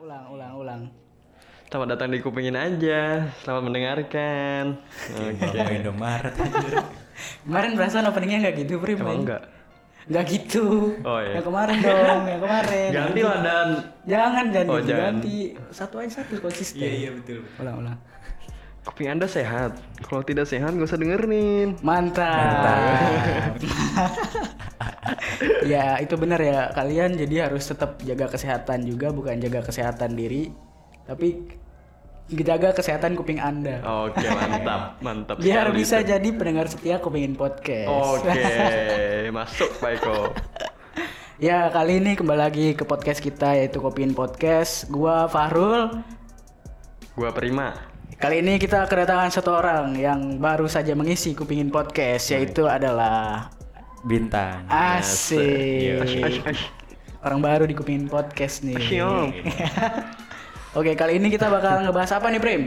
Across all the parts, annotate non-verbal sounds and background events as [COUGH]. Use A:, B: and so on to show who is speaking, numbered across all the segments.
A: ulang ulang ulang
B: Selamat datang di kupingin aja. Selamat mendengarkan. Eh,
C: Oke. Indomaret anjir.
A: kemarin perasaan openingnya nggak gitu Prim
B: Emang enggak?
A: nggak gitu
B: Oh, iya.
A: yang kemarin dong yang kemarin
B: Ganti lah dan
A: jangan jangan
B: Oh,
A: ganti,
B: jangan.
A: ganti satu aja satu konsisten
C: Iya iya betul.
A: ulang ulang
B: kuping Anda sehat. Kalau tidak sehat gak usah dengerin.
A: mantap,
C: Mantap.
A: [LAUGHS] ya itu benar ya kalian jadi harus tetap jaga kesehatan juga bukan jaga kesehatan diri tapi jaga kesehatan kuping anda
B: Oke, mantap. Mantap.
A: biar
B: sekali
A: bisa
B: itu.
A: jadi pendengar setia kupingin podcast
B: [LAUGHS] Oke, masuk Pak Eko.
A: Ya kali ini kembali lagi ke podcast kita yaitu Kopiin Podcast Gua Fahrul
B: Gua Prima.
A: Kali ini kita kedatangan satu orang yang baru saja mengisi Kupingin Podcast Yaitu adalah
C: Bintang.
A: Asik
B: Ash, ash, ash.
A: Orang baru di Kupingin Podcast nih
B: eh, Siom.
A: [LAUGHS] Oke kali ini kita bakal ngebahas apa nih Prim?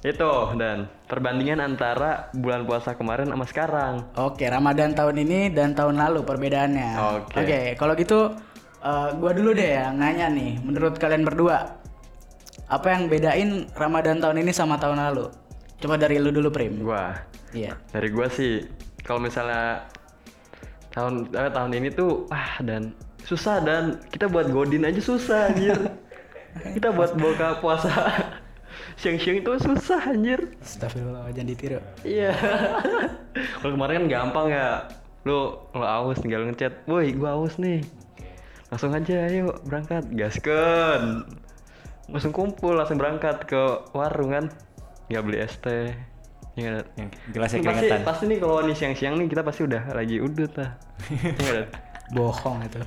B: Itu dan perbandingan antara bulan puasa kemarin sama sekarang.
A: Oke Ramadan tahun ini dan tahun lalu perbedaannya
B: Oke.
A: kalau gitu eh, gua dulu deh yang nanya nih Menurut kalian berdua Apa yang bedain Ramadan tahun ini sama tahun lalu? Coba dari lu dulu Prim
B: Gua
A: Iya.
B: dari gua sih kalau misalnya tahun eh, tahun ini tuh ah dan susah dan kita buat godin aja susah anjir kita buat buka puasa [LAUGHS] siang-siang itu susah anjir
A: Astagfirullah jangan ditiru.
B: iya kalau kemarin kan gampang ya lu lu aus tinggal ngechat woi gua aus nih langsung aja ayo berangkat gaskeun langsung kumpul langsung berangkat ke warung kan nggak beli es teh Iya nggak?
C: Yang gelasnya
B: Ini pasti,
C: keringetan.
B: pasti nih kalau nih siang-siang nih kita pasti udah lagi udut
C: [LAUGHS]
B: lah. Iya Dan?
A: Bohong itu.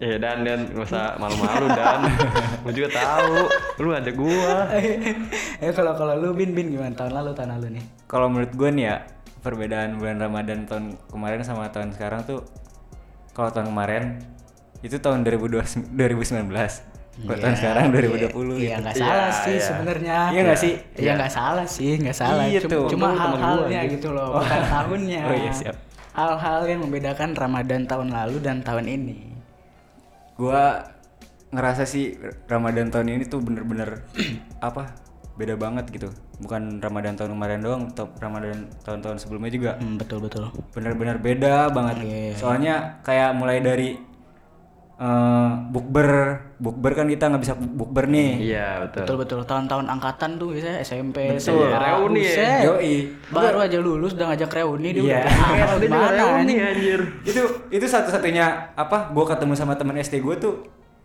B: Iya dan dan nggak usah malu-malu dan. Gue juga tahu. Lu ada gua.
A: [LAUGHS] eh kalau kalau lu bin bin gimana tahun lalu tahun lalu nih?
C: Kalau menurut gue nih ya perbedaan bulan Ramadan tahun kemarin sama tahun sekarang tuh kalau tahun kemarin itu tahun 2020 2019. Kalau tahun sekarang 2020
A: Iya
C: gitu.
A: nggak
B: Iya,
A: salah sih
B: iya.
A: sebenarnya.
C: Iya nggak sih?
A: Iya nggak salah sih nggak salah.
C: Iya
A: cuma
C: tuh,
A: cuma
B: untung lu temen
A: hal-halnya
B: gua,
A: gitu loh bukan tahunnya.
C: [LAUGHS] Oh, iya, siap.
A: Hal-hal yang membedakan Ramadan tahun lalu dan tahun ini.
C: Gua ngerasa sih Ramadan tahun ini tuh bener-bener [CLEARS THROAT] apa beda banget gitu. Bukan Ramadan tahun kemarin doang, to- Ramadan tahun-tahun sebelumnya juga
A: Hmm, betul betul.
C: bener-bener beda banget
A: Iya,
C: soalnya kayak mulai dari eh bukber bukber kan kita nggak bisa bukber nih
B: Iya betul.
A: Betul betul tahun-tahun angkatan tuh biasanya SMP,
B: Betul.
A: SMA,
B: Reuni ya.
A: buset.
C: Yoi.
A: Baru aja lulus udah ngajak reuni dia
C: [LAUGHS] Iya.
A: udah. Ah,
B: Dia juga
A: gimana
B: reuni
A: anjing?
B: anjir.
C: itu itu satu-satunya apa gue ketemu sama teman SD gue tuh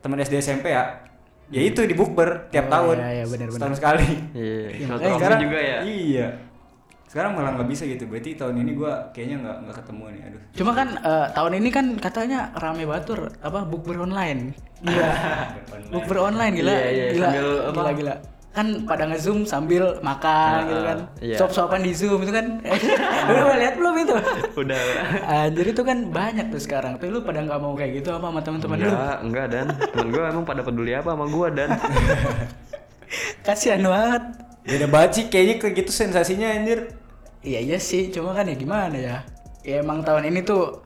C: teman SD SMP ya ya itu di bukber tiap tahun
A: iya, iya, benar,
C: setahun sekali
B: Iya. Suatu
C: Eh,
B: waktu juga ya.
C: iya sekarang malah nggak bisa gitu berarti tahun ini gue kayaknya nggak nggak ketemu nih aduh
A: Cuma kan eh, tahun ini kan katanya rame batur apa bukber online. Gila. [LAUGHS] bukber online gila.
B: Iya, iya,
A: Gila.
B: sambil apa?
A: gila, gila. Kan pada nge-zoom sambil makan
B: Ah,
A: gitu kan.
B: iya.
A: Sop-sopan di Zoom itu kan. [LAUGHS] Lu lihat belum
B: [LAUGHS]
A: itu?
B: Udah.
A: Anjir itu kan banyak tuh sekarang. Tuh lu pada nggak mau kayak gitu apa sama teman-teman lu?
B: Enggak, enggak dan temen gua emang pada peduli apa sama gua dan
A: Kasihan banget.
C: beda banget sih kayaknya kayak gitu sensasinya anjir
A: Iya iya sih, cuma kan ya gimana ya? Ya emang tahun ini tuh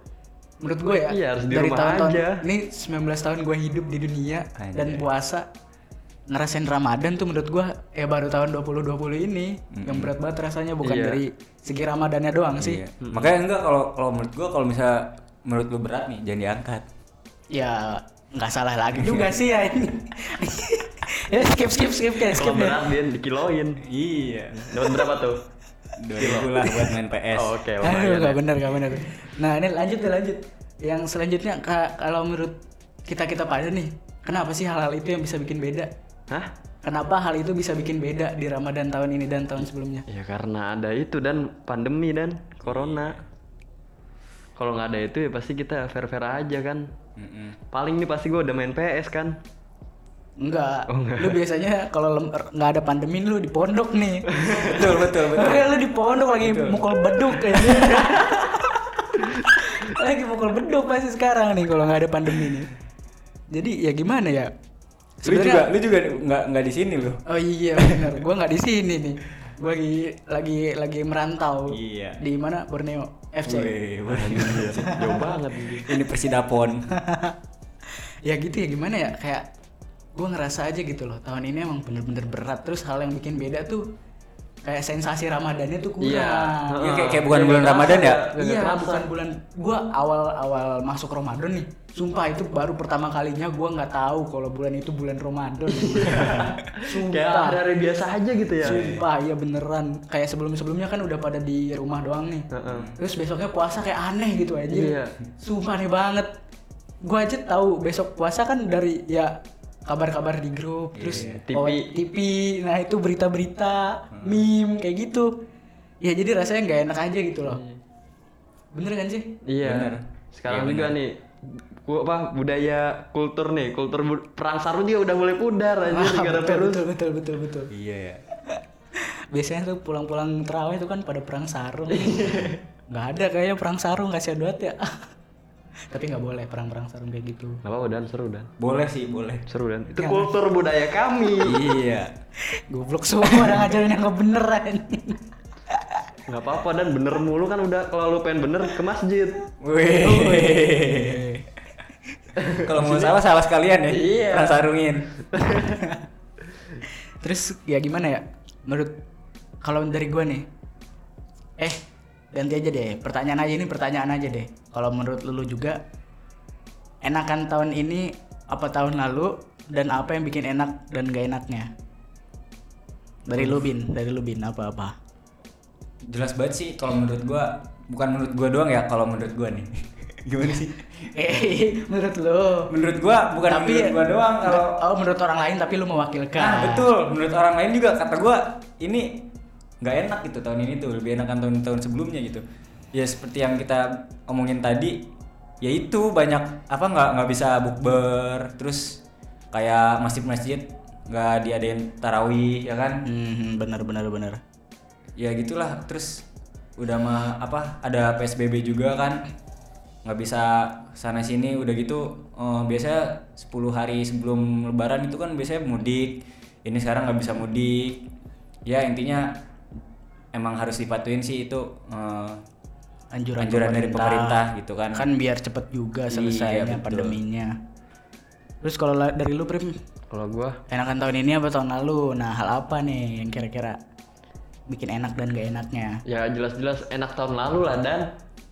A: menurut gue ya
B: Iya, harus di rumah
A: tahun-tahun-
B: aja.
A: Ini 19 tahun gue hidup di dunia
C: Anjay.
A: dan puasa ngerasain Ramadan tuh menurut gue ya baru tahun 2020 ini yang berat banget rasanya bukan
B: Iya.
A: dari segi Ramadannya doang sih.
C: Iya. makanya enggak kalau kalau menurut gue kalau misalnya menurut lu berat nih jangan diangkat
A: Ya nggak salah lagi juga sih ya ini. ya skip skip skip kayak [LAUGHS] skip
B: kalau
A: ya.
B: berat dia dikiloin.
C: Iya.
B: Dapat berapa tuh?
C: Dua ribu lah buat main PS.
B: Oh, Oke,
A: Aduh,
B: lumayan.
A: Eh, nggak benar, nggak benar. Nah, ini lanjut deh, lanjut. Yang selanjutnya, ka- kalau menurut kita-kita pada nih, kenapa sih hal-hal itu yang bisa bikin beda?
B: Hah?
A: Kenapa hal itu bisa bikin beda di Ramadan tahun ini dan tahun sebelumnya?
B: Ya karena ada itu dan pandemi dan corona. Kalau nggak ada itu ya pasti kita fair-fair aja kan.
C: Mm-mm.
B: Paling nih pasti gue udah main PS kan.
A: Enggak.
C: Oh,
A: Lu biasanya kalau lem- er, nggak ada pandemi lu di pondok nih.
C: betul betul [LAUGHS] betul.
A: Oke, lu di pondok lagi mukul beduk
C: [LAUGHS]
A: kayaknya. lagi mukul beduk pasti sekarang nih kalau nggak ada pandemi nih. Jadi ya gimana ya?
C: Lu juga lu juga nggak nggak di sini lu.
A: Oh iya benar, gua nggak di sini nih. Gua lagi lagi lagi merantau.
C: Iya.
A: Di mana Borneo FC.
B: Iya.
C: Wih, wah,
B: Jauh banget.
C: Ini persidapon.
A: ya gitu ya gimana ya kayak gue ngerasa aja gitu loh tahun ini emang bener-bener berat terus hal yang bikin beda tuh kayak sensasi Ramadannya tuh kurang.
B: Iya.
C: Ya, kayak, kayak bukan bulan Ramadan ya?
A: Iya, bukan bulan gua awal-awal masuk Ramadan nih. Sumpah itu baru pertama kalinya gua nggak tahu kalau bulan itu bulan Ramadan.
B: [LAUGHS] Kayak
A: Sumpah.
B: hari-hari biasa aja gitu ya.
A: Sumpah iya beneran. Kayak sebelum-sebelumnya kan udah pada di rumah doang nih.
B: Heeh.
A: Terus besoknya puasa kayak aneh gitu aja.
B: Iya.
A: Sumpah aneh banget. Gua aja tahu besok puasa kan dari ya kabar-kabar di grup, terus
B: TV.
A: oh, TV. Nah, itu berita-berita, meme kayak gitu. Ya jadi rasanya nggak enak aja gitu loh. Bener kan sih?
B: Iya.
C: Bener.
B: Sekarang
C: Iya,
B: juga nih gua apa budaya kultur nih, kultur bu- perang sarung dia udah mulai pudar aja [LAUGHS]
A: Wah,
B: gara
A: betul,
B: virus.
A: betul, betul, betul, betul.
C: Iya ya.
A: Biasanya tuh pulang-pulang terawih itu kan pada perang sarung. nggak ada kayaknya perang sarung kasihan banget ya. Tapi nggak boleh perang-perang sarung kayak gitu.
B: Gak apa-apa Dan, seru Dan.
C: Boleh sih, boleh.
B: Seru Dan. Itu kultur budaya kami.
C: iya.
A: Goblok semua pada ngajarin yang nggak bener [LAUGHS] anjing.
B: Gak apa-apa Dan, bener mulu kan udah kalau lu pengen bener ke masjid.
C: Weh. Kalau mau salah salah sekalian ya.
B: Iya.
C: Perang sarungin.
A: Terus ya gimana ya? Menurut kalau dari gua nih. Eh, ganti aja deh. Pertanyaan aja ini pertanyaan aja deh. Kalau menurut lu juga enakan tahun ini apa tahun lalu dan apa yang bikin enak dan gak enaknya? Dari Lubin, dari Lubin apa-apa.
C: Jelas banget sih kalau menurut gua bukan menurut gua doang ya kalau menurut gua nih. Gimana sih?
A: [LAUGHS] Eh, menurut lu.
C: Menurut gua bukan
A: Tapi-
C: menurut gua doang kalau
A: Oh, menurut orang lain tapi lu mewakilkan.
C: Nah, betul. Menurut orang lain juga kata gua ini nggak enak gitu tahun ini tuh lebih enakan tahun-tahun sebelumnya gitu. Ya seperti yang kita omongin tadi, yaitu banyak apa nggak nggak bisa bukber, terus kayak masjid-masjid nggak diadain tarawih ya kan?
A: Hmm, benar benar benar.
C: Ya gitulah. Terus udah mah apa ada PSBB juga kan? nggak bisa sana sini udah gitu eh, biasanya 10 hari sebelum lebaran itu kan biasanya mudik ini sekarang nggak bisa mudik ya intinya emang harus dipatuhin sih itu eh,
A: Anjuran,
C: anjuran dari pemerintah gitu kan
A: Kan biar cepet juga selesainya
C: Iya, betul.
A: pandeminya. Terus kalau la- dari lu Prim,
B: Kalau gua
A: enakan tahun ini apa tahun lalu? Nah, hal apa nih yang kira-kira bikin enak dan gak enaknya?
B: ya jelas-jelas enak tahun lalu lah Dan.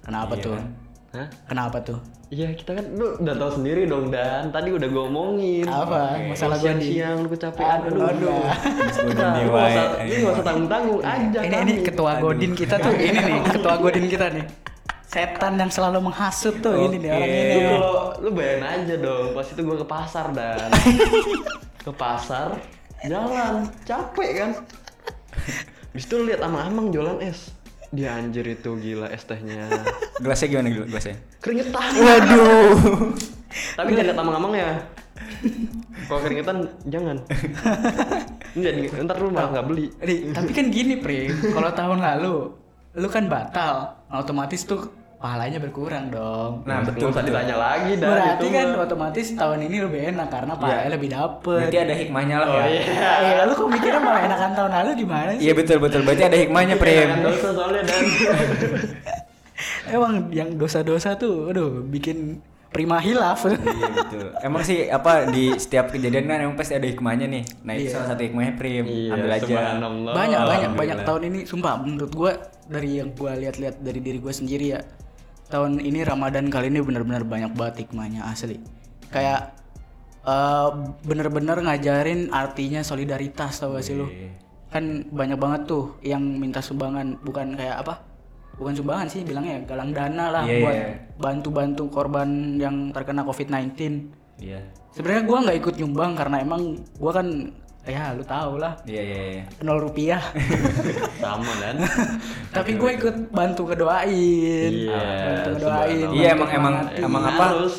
A: Kenapa
C: Iya.
A: tuh?
B: Hah?
A: Kenapa tuh?
B: Iya kita kan lu udah tahu sendiri dong Dan. Tadi udah gua omongin.
A: Apa? Masalah gua
B: siang,
A: di
B: siang lu kecapean
A: Aduh, aduh.
C: Gua
B: Udah,
C: dan
B: lu nggak
C: dewa,
B: usah-
C: eh.
B: lu nggak usah tanggung tanggung aja
A: Ini ini
B: kami.
A: ketua Godin kita
C: [LAUGHS]
A: tuh ini nih, ketua Godin kita nih. Setan yang selalu menghasut tuh ini nih orang ini.
B: Lu kalau lu bayangin aja dong pas itu gua ke pasar
A: [LAUGHS]
B: dan ke pasar jalan capek kan Habis itu lu lihat amang-amang jualan es dia anjir itu gila es tehnya
C: gelasnya gimana gel- gelasnya
B: keringetan
C: waduh
B: tapi jangan lihat amang-amang ya kalau keringetan jangan Ini jadi- ntar lu malah nggak beli
A: Ri, tapi kan gini, Pri. Kalau tahun lalu lu kan batal, otomatis tuh pahalanya berkurang dong.
C: nah
B: Nggak
C: betul
B: usah
C: betul
B: ditanya lagi
C: Nah,
B: dan
A: Berarti
B: itu
A: kan
B: mah.
A: otomatis tahun ini lebih enak karena
C: Iya.
A: pahalanya lebih dapet.
C: berarti ada hikmahnya lah
B: oh
C: ya
B: iya
A: Iya, lu kok mikirnya malah enakan tahun lalu gimana sih?
C: iya betul betul berarti ada hikmahnya
B: Jangan
C: Prem
B: dosa soalnya dan
A: Emang yang dosa-dosa tuh, aduh, bikin prima hilaf.
C: Iya betul. Emang sih apa di setiap kejadian kan emang pasti ada hikmahnya nih. Nah
A: Iya.
C: itu salah satu hikmahnya prim. Ambil aja.
B: Iya, subhanallah.
A: banyak banyak banyak tahun ini sumpah menurut gua dari yang gua lihat-lihat dari diri gua sendiri ya tahun ini Ramadan kali ini benar-benar banyak banget hikmahnya asli kayak eh, bener-bener ngajarin artinya solidaritas tau gak sih lu
C: Iya.
A: kan banyak banget tuh yang minta sumbangan bukan kayak apa bukan sumbangan sih bilangnya ya, galang dana lah
C: Iya,
A: buat
C: iya.
A: bantu-bantu korban yang terkena COVID-19
C: Iya.
A: sebenarnya gua nggak ikut nyumbang karena emang gua kan ya lu tau lah
C: Iya iya iya.
A: nol rupiah [LAUGHS]
B: sama dan
A: tapi gue ikut bantu ngedoain Ah,
B: Iya,
A: bantu ngedoain
B: Emang
C: Iya
A: bantu
C: emang emang
A: semangatin.
C: emang apa?
B: Harus.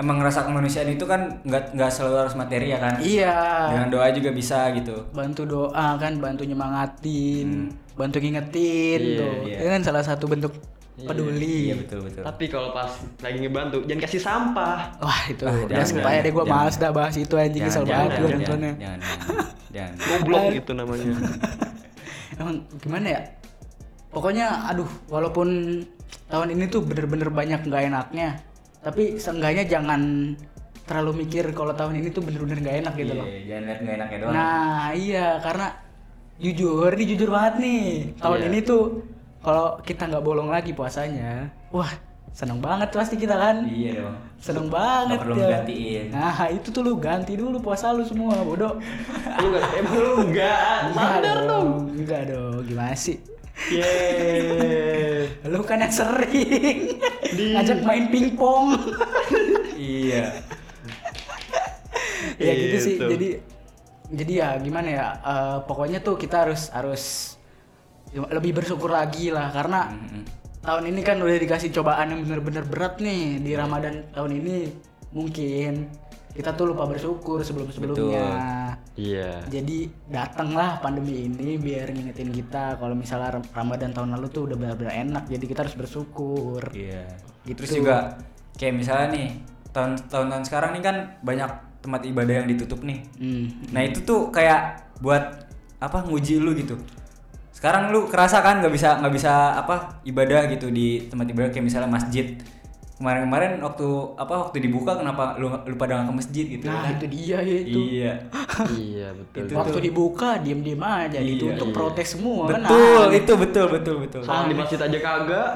C: Emang rasa kemanusiaan itu kan nggak nggak selalu harus materi ya kan.
A: iya
C: Dengan doa juga bisa gitu.
A: bantu doa kan bantu nyemangatin bantu ngingetin
B: Iya,
A: tuh
C: Hmm. iya.
A: itu kan salah satu bentuk peduli
C: Iya betul betul.
B: tapi kalau pas lagi ngebantu jangan kasih sampah
A: wah itu
C: Ah,
A: udah
C: jangan,
A: supaya deh gue
C: jangan.
A: males dah bahas itu aja kesel banget gue
C: jangan, jangan,
A: nontonnya
C: jangan, jangan.
B: goblok itu namanya
A: [LAUGHS] emang gimana ya pokoknya aduh walaupun tahun ini tuh bener-bener banyak nggak enaknya tapi seenggaknya jangan terlalu mikir kalau tahun ini tuh bener-bener nggak enak [LAUGHS] gitu loh.
C: Iya, jangan lihat nggak enaknya doang.
A: Nah iya karena jujur, ini jujur banget nih tahun
B: Iya.
A: ini tuh kalau kita nggak bolong lagi puasanya, wah seneng banget pasti kita kan,
C: Iya dong.
A: seneng banget
C: perlu menggantiin.
A: Nah itu tuh lu ganti dulu puasa lu semua
C: [LAUGHS]
A: bodoh.
B: Lu enggak emang lu enggak sadar
A: Enggak
B: dong.
A: dong, enggak dong, gimana sih?
B: Yeay.
A: Lu kan yang sering
B: Di-
A: ngajak main pingpong.
C: iya.
A: ya gitu sih.
B: Gitu.
A: Jadi jadi ya gimana ya? eh, pokoknya tuh kita harus harus lebih bersyukur lagi lah karena
C: Mm-mm.
A: tahun ini kan udah dikasih cobaan yang bener-bener berat nih di Ramadan tahun ini mungkin kita tuh lupa bersyukur sebelum-sebelumnya.
B: Iya.
A: Jadi datanglah pandemi ini biar ngingetin kita kalau misalnya Ram- Ramadan tahun lalu tuh udah benar-benar enak jadi kita harus bersyukur.
C: Iya.
A: Gitu.
C: Terus juga kayak misalnya nih tahun tahun sekarang nih kan banyak tempat ibadah yang ditutup nih.
A: Hmm.
C: Nah itu tuh kayak buat apa nguji lu gitu. Sekarang lu kerasa kan nggak bisa nggak bisa apa ibadah gitu di tempat ibadah kayak misalnya masjid. Kemarin-kemarin waktu apa waktu dibuka kenapa lu lu pada nggak ke masjid gitu?
A: Nah,
C: kan?
A: itu dia ya itu.
C: Iya.
B: Iya, betul.
C: Itu
A: Waktu
C: tuh.
A: dibuka diem-diem aja
C: Iya,
A: ditutup
C: iya.
A: protes semua kan.
C: Betul,
A: [LAUGHS] aneh.
C: itu betul betul betul.
B: Soal di masjid aja kagak.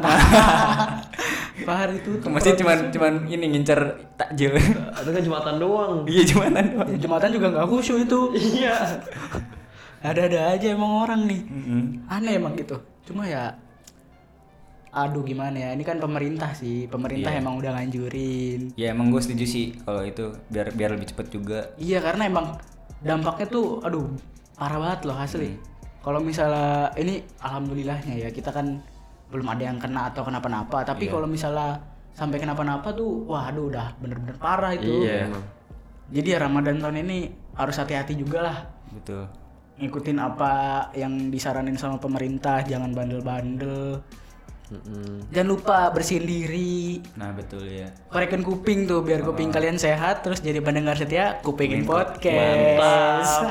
A: Bahar itu
C: Ke masjid cuman cuman ini ngincer takjil. [LAUGHS]
B: Ada kan jumatan doang.
C: Iya cumanan doang.
A: jembatan juga nggak khusyuk itu.
B: Iya.
A: Ada-ada aja emang orang nih.
C: Mm-mm.
A: Aneh emang gitu. Cuma ya aduh gimana ya ini kan pemerintah sih pemerintah
C: Iya.
A: emang udah nganjurin
C: Ya emang gue setuju sih kalau itu biar biar lebih cepet juga.
A: Iya karena emang dampaknya tuh aduh parah banget loh asli. Kalau misalnya ini alhamdulillahnya ya kita kan belum ada yang kena atau kenapa-napa. Tapi kalau misalnya sampai kenapa-napa tuh wah aduh udah bener-bener parah itu.
B: Iya, emang.
A: Jadi ya Ramadan tahun ini harus hati-hati juga lah
C: Betul.
A: ngikutin apa yang disaranin sama pemerintah jangan bandel-bandel
B: Mm-mm.
A: jangan lupa bersihin diri
C: Nah betul ya.
A: korekin kuping tuh biar kuping kalian sehat terus jadi pendengar setia kupingin podcast.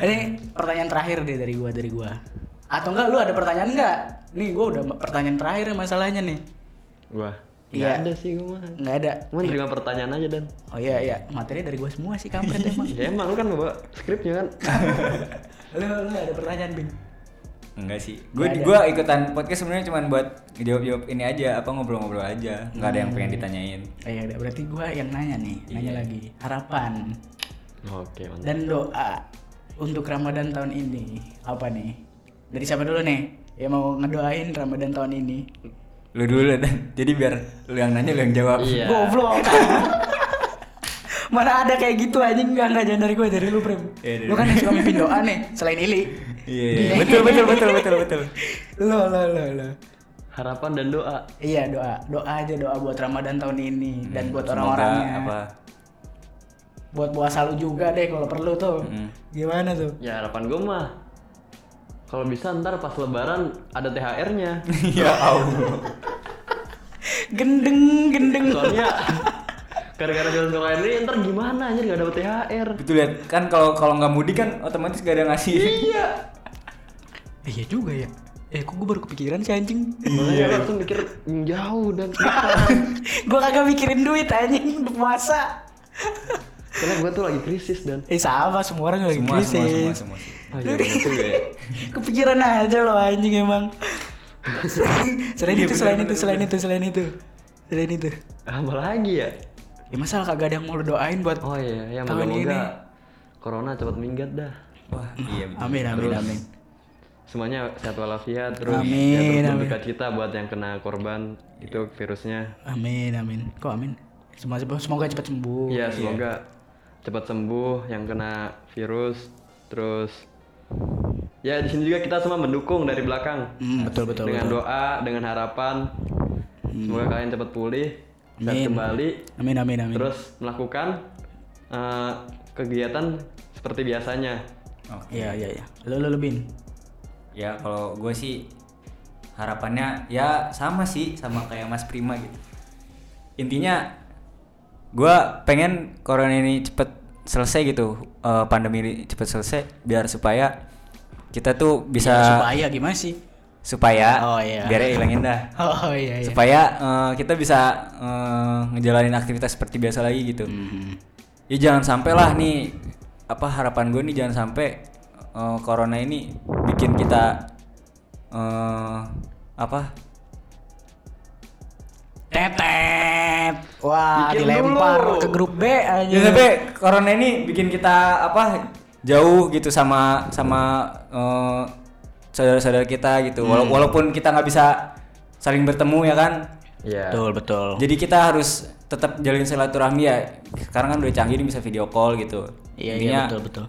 A: Ini pertanyaan terakhir deh dari gua dari gua. Atau enggak lu ada pertanyaan enggak? Nih gua udah pertanyaan terakhir masalahnya nih.
B: Gua.
A: Iya.
B: Nggak ada sih gua mah.
A: Enggak ada.
B: Cuma terima pertanyaan aja dan.
A: Oh iya iya, materi dari gua semua sih kampret emang.
B: Ya emang lu kan bawa skripnya kan.
A: Lu lu ada pertanyaan, Bin?
C: Enggak sih.
A: Nggak
C: Gue
A: ada.
C: Hmm. gua ikutan podcast sebenarnya cuman buat jawab-jawab ini aja, apa ngobrol-ngobrol aja. Enggak ada yang pengen ditanyain.
A: Eh, ya udah, berarti gua yang nanya nih, nanya lagi. Harapan
B: Oke, mantap.
A: dan doa untuk Ramadan tahun ini apa nih? Dari siapa dulu nih? Yang mau ngedoain Ramadan tahun ini?
C: Lu dulu lah, dan jadi biar lu yang nanya lu yang jawab.
B: Iya.
A: Goblok. [LAUGHS] Mana ada kayak gitu aja enggak enggak jangan dari gue dari lu Prem.
C: Iya, dari
A: lu kan yang suka mimpin doa nih selain Ili.
C: Iya, iya. Betul betul betul betul betul.
A: [LAUGHS] Lo lo lo lo.
B: Harapan dan doa.
A: Iya doa doa aja doa buat Ramadan tahun ini dan buat
C: Hmm, Semoga
A: orang-orangnya. [LAUGHS]
C: apa?
A: Buat puasa lu juga deh kalau perlu tuh.
C: Mm.
A: Gimana tuh?
B: Ya harapan gue mah kalau bisa ntar pas lebaran ada THR-nya.
C: ya Allah.
A: Gendeng gendeng.
B: [LAUGHS] Soalnya gara-gara jalan sekolah ini ntar gimana anjir nggak dapet THR.
C: Betul lihat kan kalau kalau nggak mudik kan otomatis gak ada ngasih.
B: Iya.
A: Eh, iya juga ya. Eh kok gue baru kepikiran sih [LAUGHS] anjing.
B: Makanya gua langsung mikir "Hmm, jauh dan [LAUGHS]
A: gue kagak mikirin duit anjing untuk puasa.
B: karena gue tuh lagi krisis dan
A: Eh sama semua orang lagi
C: semua,
A: krisis.
C: semua semua semua.
B: Ah, iya, betul ya.
A: Kepikiran aja lo anjing emang. [LAUGHS] selain
C: Iya,
A: itu, selain itu, selain itu, selain itu, selain itu.
B: Apa lagi ya?
A: Ya masalah kagak ada yang mau lo doain buat.
B: Oh iya, ya
A: Tahun
B: moga-moga corona cepat minggat dah.
C: Wah, iya betul.
A: Amin, amin, amin.
B: Semuanya sehat walafiat terus
A: Amin,
B: ya terus
A: amin.
B: berduka cita buat yang kena korban itu virusnya.
A: Amin, amin. Kok amin? Semoga semoga cepat sembuh.
B: Iya, semoga cepat sembuh yang kena virus. Terus ya di sini juga kita semua mendukung dari belakang
A: Hmm, betul betul.
B: dengan
A: betul. Hmm.
B: doa, dengan harapan. Semoga kalian cepat pulih, sehat
A: Amin.
B: kembali,
A: Amin, amin, amin.
B: terus melakukan eh, kegiatan seperti biasanya.
C: Oke.
A: Iya, iya, iya. Lo lo lebih.
C: Ya kalau gue sih harapannya ya sama sih sama kayak Mas Prima gitu. Intinya gue pengen corona ini cepet selesai gitu eh, pandemi ini cepet selesai biar supaya kita tuh bisa
A: Supaya gimana sih?
C: supaya
A: Iya, Oh, iya.
C: biar hilangin dah.
A: Oh iya iya.
C: Supaya eh, kita bisa eh, ngejalanin aktivitas seperti biasa lagi gitu.
A: Hmm.
C: Ya jangan sampai lah nih apa harapan gue nih jangan sampai eh, corona ini bikin kita eh apa
A: Tetet. Wah,
B: Bikin
A: dilempar
B: dulu. Iya,
A: ke grup B aja.
C: Ya tapi corona ini bikin kita apa jauh gitu sama sama eh, saudara-saudara kita gitu. Wala-
A: Hmm.
C: Walaupun kita nggak bisa saling bertemu ya kan.
B: Iya.
A: Betul, betul.
C: Jadi kita harus tetap jalin silaturahmi ya. Sekarang kan udah canggih nih bisa video call gitu.
A: Iya, iya
C: Intinya,
A: betul, betul.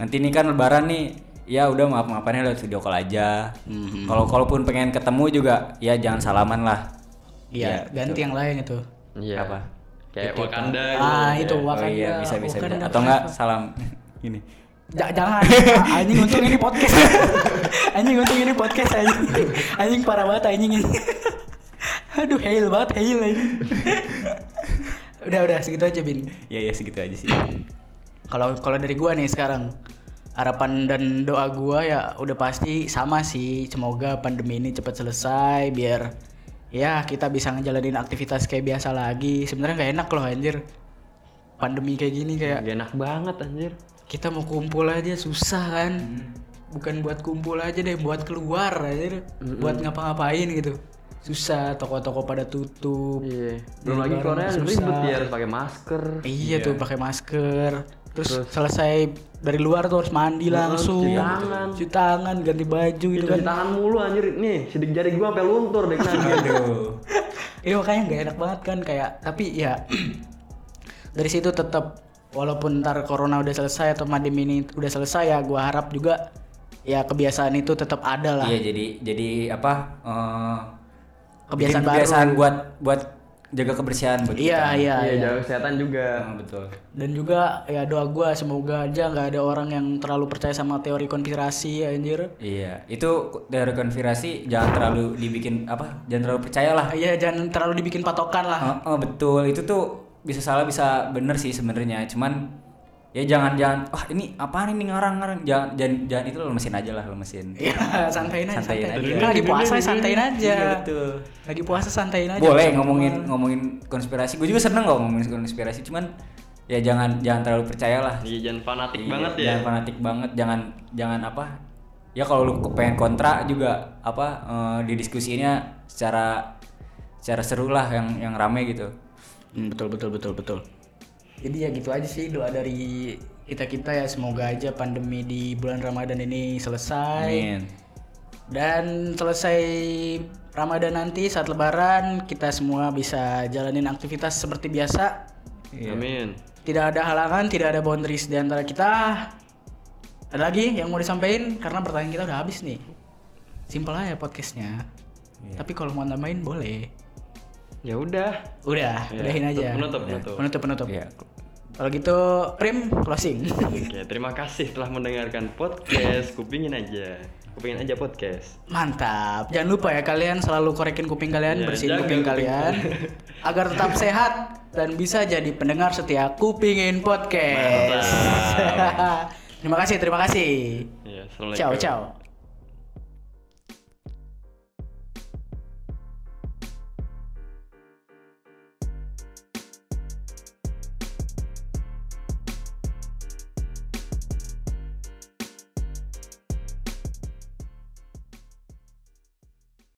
C: Nanti ini kan lebaran nih. Ya udah maaf maafannya lewat video call aja.
A: Mhm.
C: Kalau kalaupun pengen ketemu juga ya jangan salaman lah.
A: Iya, ganti yang lain itu.
B: Iya.
C: Apa?
B: Kayak Wakanda gitu.
A: Ah, itu Wakanda.
C: oh iya bisa bisa, bisa.
A: Wakanda
C: atau enggak salam [LAUGHS] ini.
A: Ja- jangan. Ah, anjing untung ini podcast. anjing untung ini podcast anjing. Anjing parah banget anjing [LAUGHS] ini. Aduh, hail banget, hail anjing. [LAUGHS] udah, udah segitu aja, Bin.
C: Ya ya segitu aja
A: [LAUGHS]
C: sih.
A: Kalau kalau dari gua nih sekarang harapan dan doa gua ya udah pasti sama sih. Semoga pandemi ini cepat selesai biar ya kita bisa ngejalanin aktivitas kayak biasa lagi. Sebenarnya nggak enak loh anjir. Pandemi kayak gini kayak
B: Gak enak banget anjir.
A: kita mau kumpul aja susah kan. Bukan buat kumpul aja deh, buat keluar aja, buat ngapa-ngapain gitu. Susah, toko-toko pada tutup.
B: Iya. Belum
A: Lebaran
B: lagi keluarnya
A: susah.
B: ribet ya harus pakai masker.
A: Iya tuh pakai masker. Terus, selesai dari luar tuh harus mandi langsung.
B: cuci tangan. Iya.
A: Cuci tangan, ganti baju gitu kan.
B: Cuci tangan mulu anjir. Nih, sidik jari gua sampai luntur deh kan. kena dia.
C: Aduh.
A: [LAUGHS] Iya makanya nggak enak banget kan kayak tapi ya [CLEARS THROAT] dari situ tetap walaupun ntar corona udah selesai atau pandemi ini udah selesai ya gua harap juga ya kebiasaan itu tetap ada lah.
C: Iya jadi jadi apa? eh,
A: Kebiasaan
C: bikin
A: baru.
C: kebiasaan buat buat jaga kebersihan buat
A: Iya iya.
B: Iya,
A: iya.
B: jaga kesehatan juga.
C: kita. Ah, betul.
A: Dan juga ya doa gua semoga aja nggak ada orang yang terlalu percaya sama teori konspirasi ya, anjir.
C: Iya, itu dari konfirmasi jangan terlalu dibikin apa? Jangan terlalu percayalah.
A: Iya jangan terlalu dibikin patokan lah.
C: Oh, oh, betul. Itu tuh bisa salah bisa bener sih sebenarnya. Cuman ya jangan jangan wah ini apaan ini ngarang-ngarang. Jangan jangan, jangan itu lemesin aja lah, lemesin.
A: Iya, santain aja.
C: Santain
A: Santain,
C: aja.
A: Kan lagi puasa ya santain aja.
C: Iya, betul.
A: Lagi puasa santain aja.
C: [LAUGHS] Boleh ngomongin ngomongin konspirasi. Gue juga seneng kok ngomongin konspirasi, cuman ya jangan jangan terlalu percayalah.
B: Iya, jangan fanatik
C: Iya,
B: banget ya.
C: jangan fanatik banget jangan jangan apa ya kalau lu pengen kontra juga apa eh, didiskusinya secara secara seru lah yang yang rame gitu
A: Hmm, betul betul betul betul. Jadi ya gitu aja sih doa dari kita kita ya semoga aja pandemi di bulan Ramadan ini selesai dan selesai Ramadan nanti saat Lebaran kita semua bisa jalanin aktivitas seperti biasa.
B: Amin.
A: Tidak ada halangan, tidak ada boundaries di antara kita. Ada lagi yang mau disampaikan karena pertanyaan kita udah habis nih. Simpel aja podcastnya.
B: Iya.
A: Tapi kalau mau nambahin boleh.
B: Ya udah.
A: Udah,
B: Iya,
A: udahin aja.
B: penutup,
A: Udah.
B: penutup.
A: penutup, penutup.
C: Iya.
A: Kalau gitu, Prim closing. [LAUGHS]
B: Oke, terima kasih telah mendengarkan podcast Kupingin aja. Kupingin aja podcast.
A: Mantap. Jangan lupa ya kalian selalu korekin kuping kalian,
B: Iya,
A: bersihin
B: jaga
A: kuping
B: kuping. [LAUGHS]
A: kalian agar tetap sehat dan bisa jadi pendengar setia Kupingin Podcast. [LAUGHS] terima kasih, terima kasih.
B: Ya,
A: Ciao,
B: assalamualaikum.
A: ciao.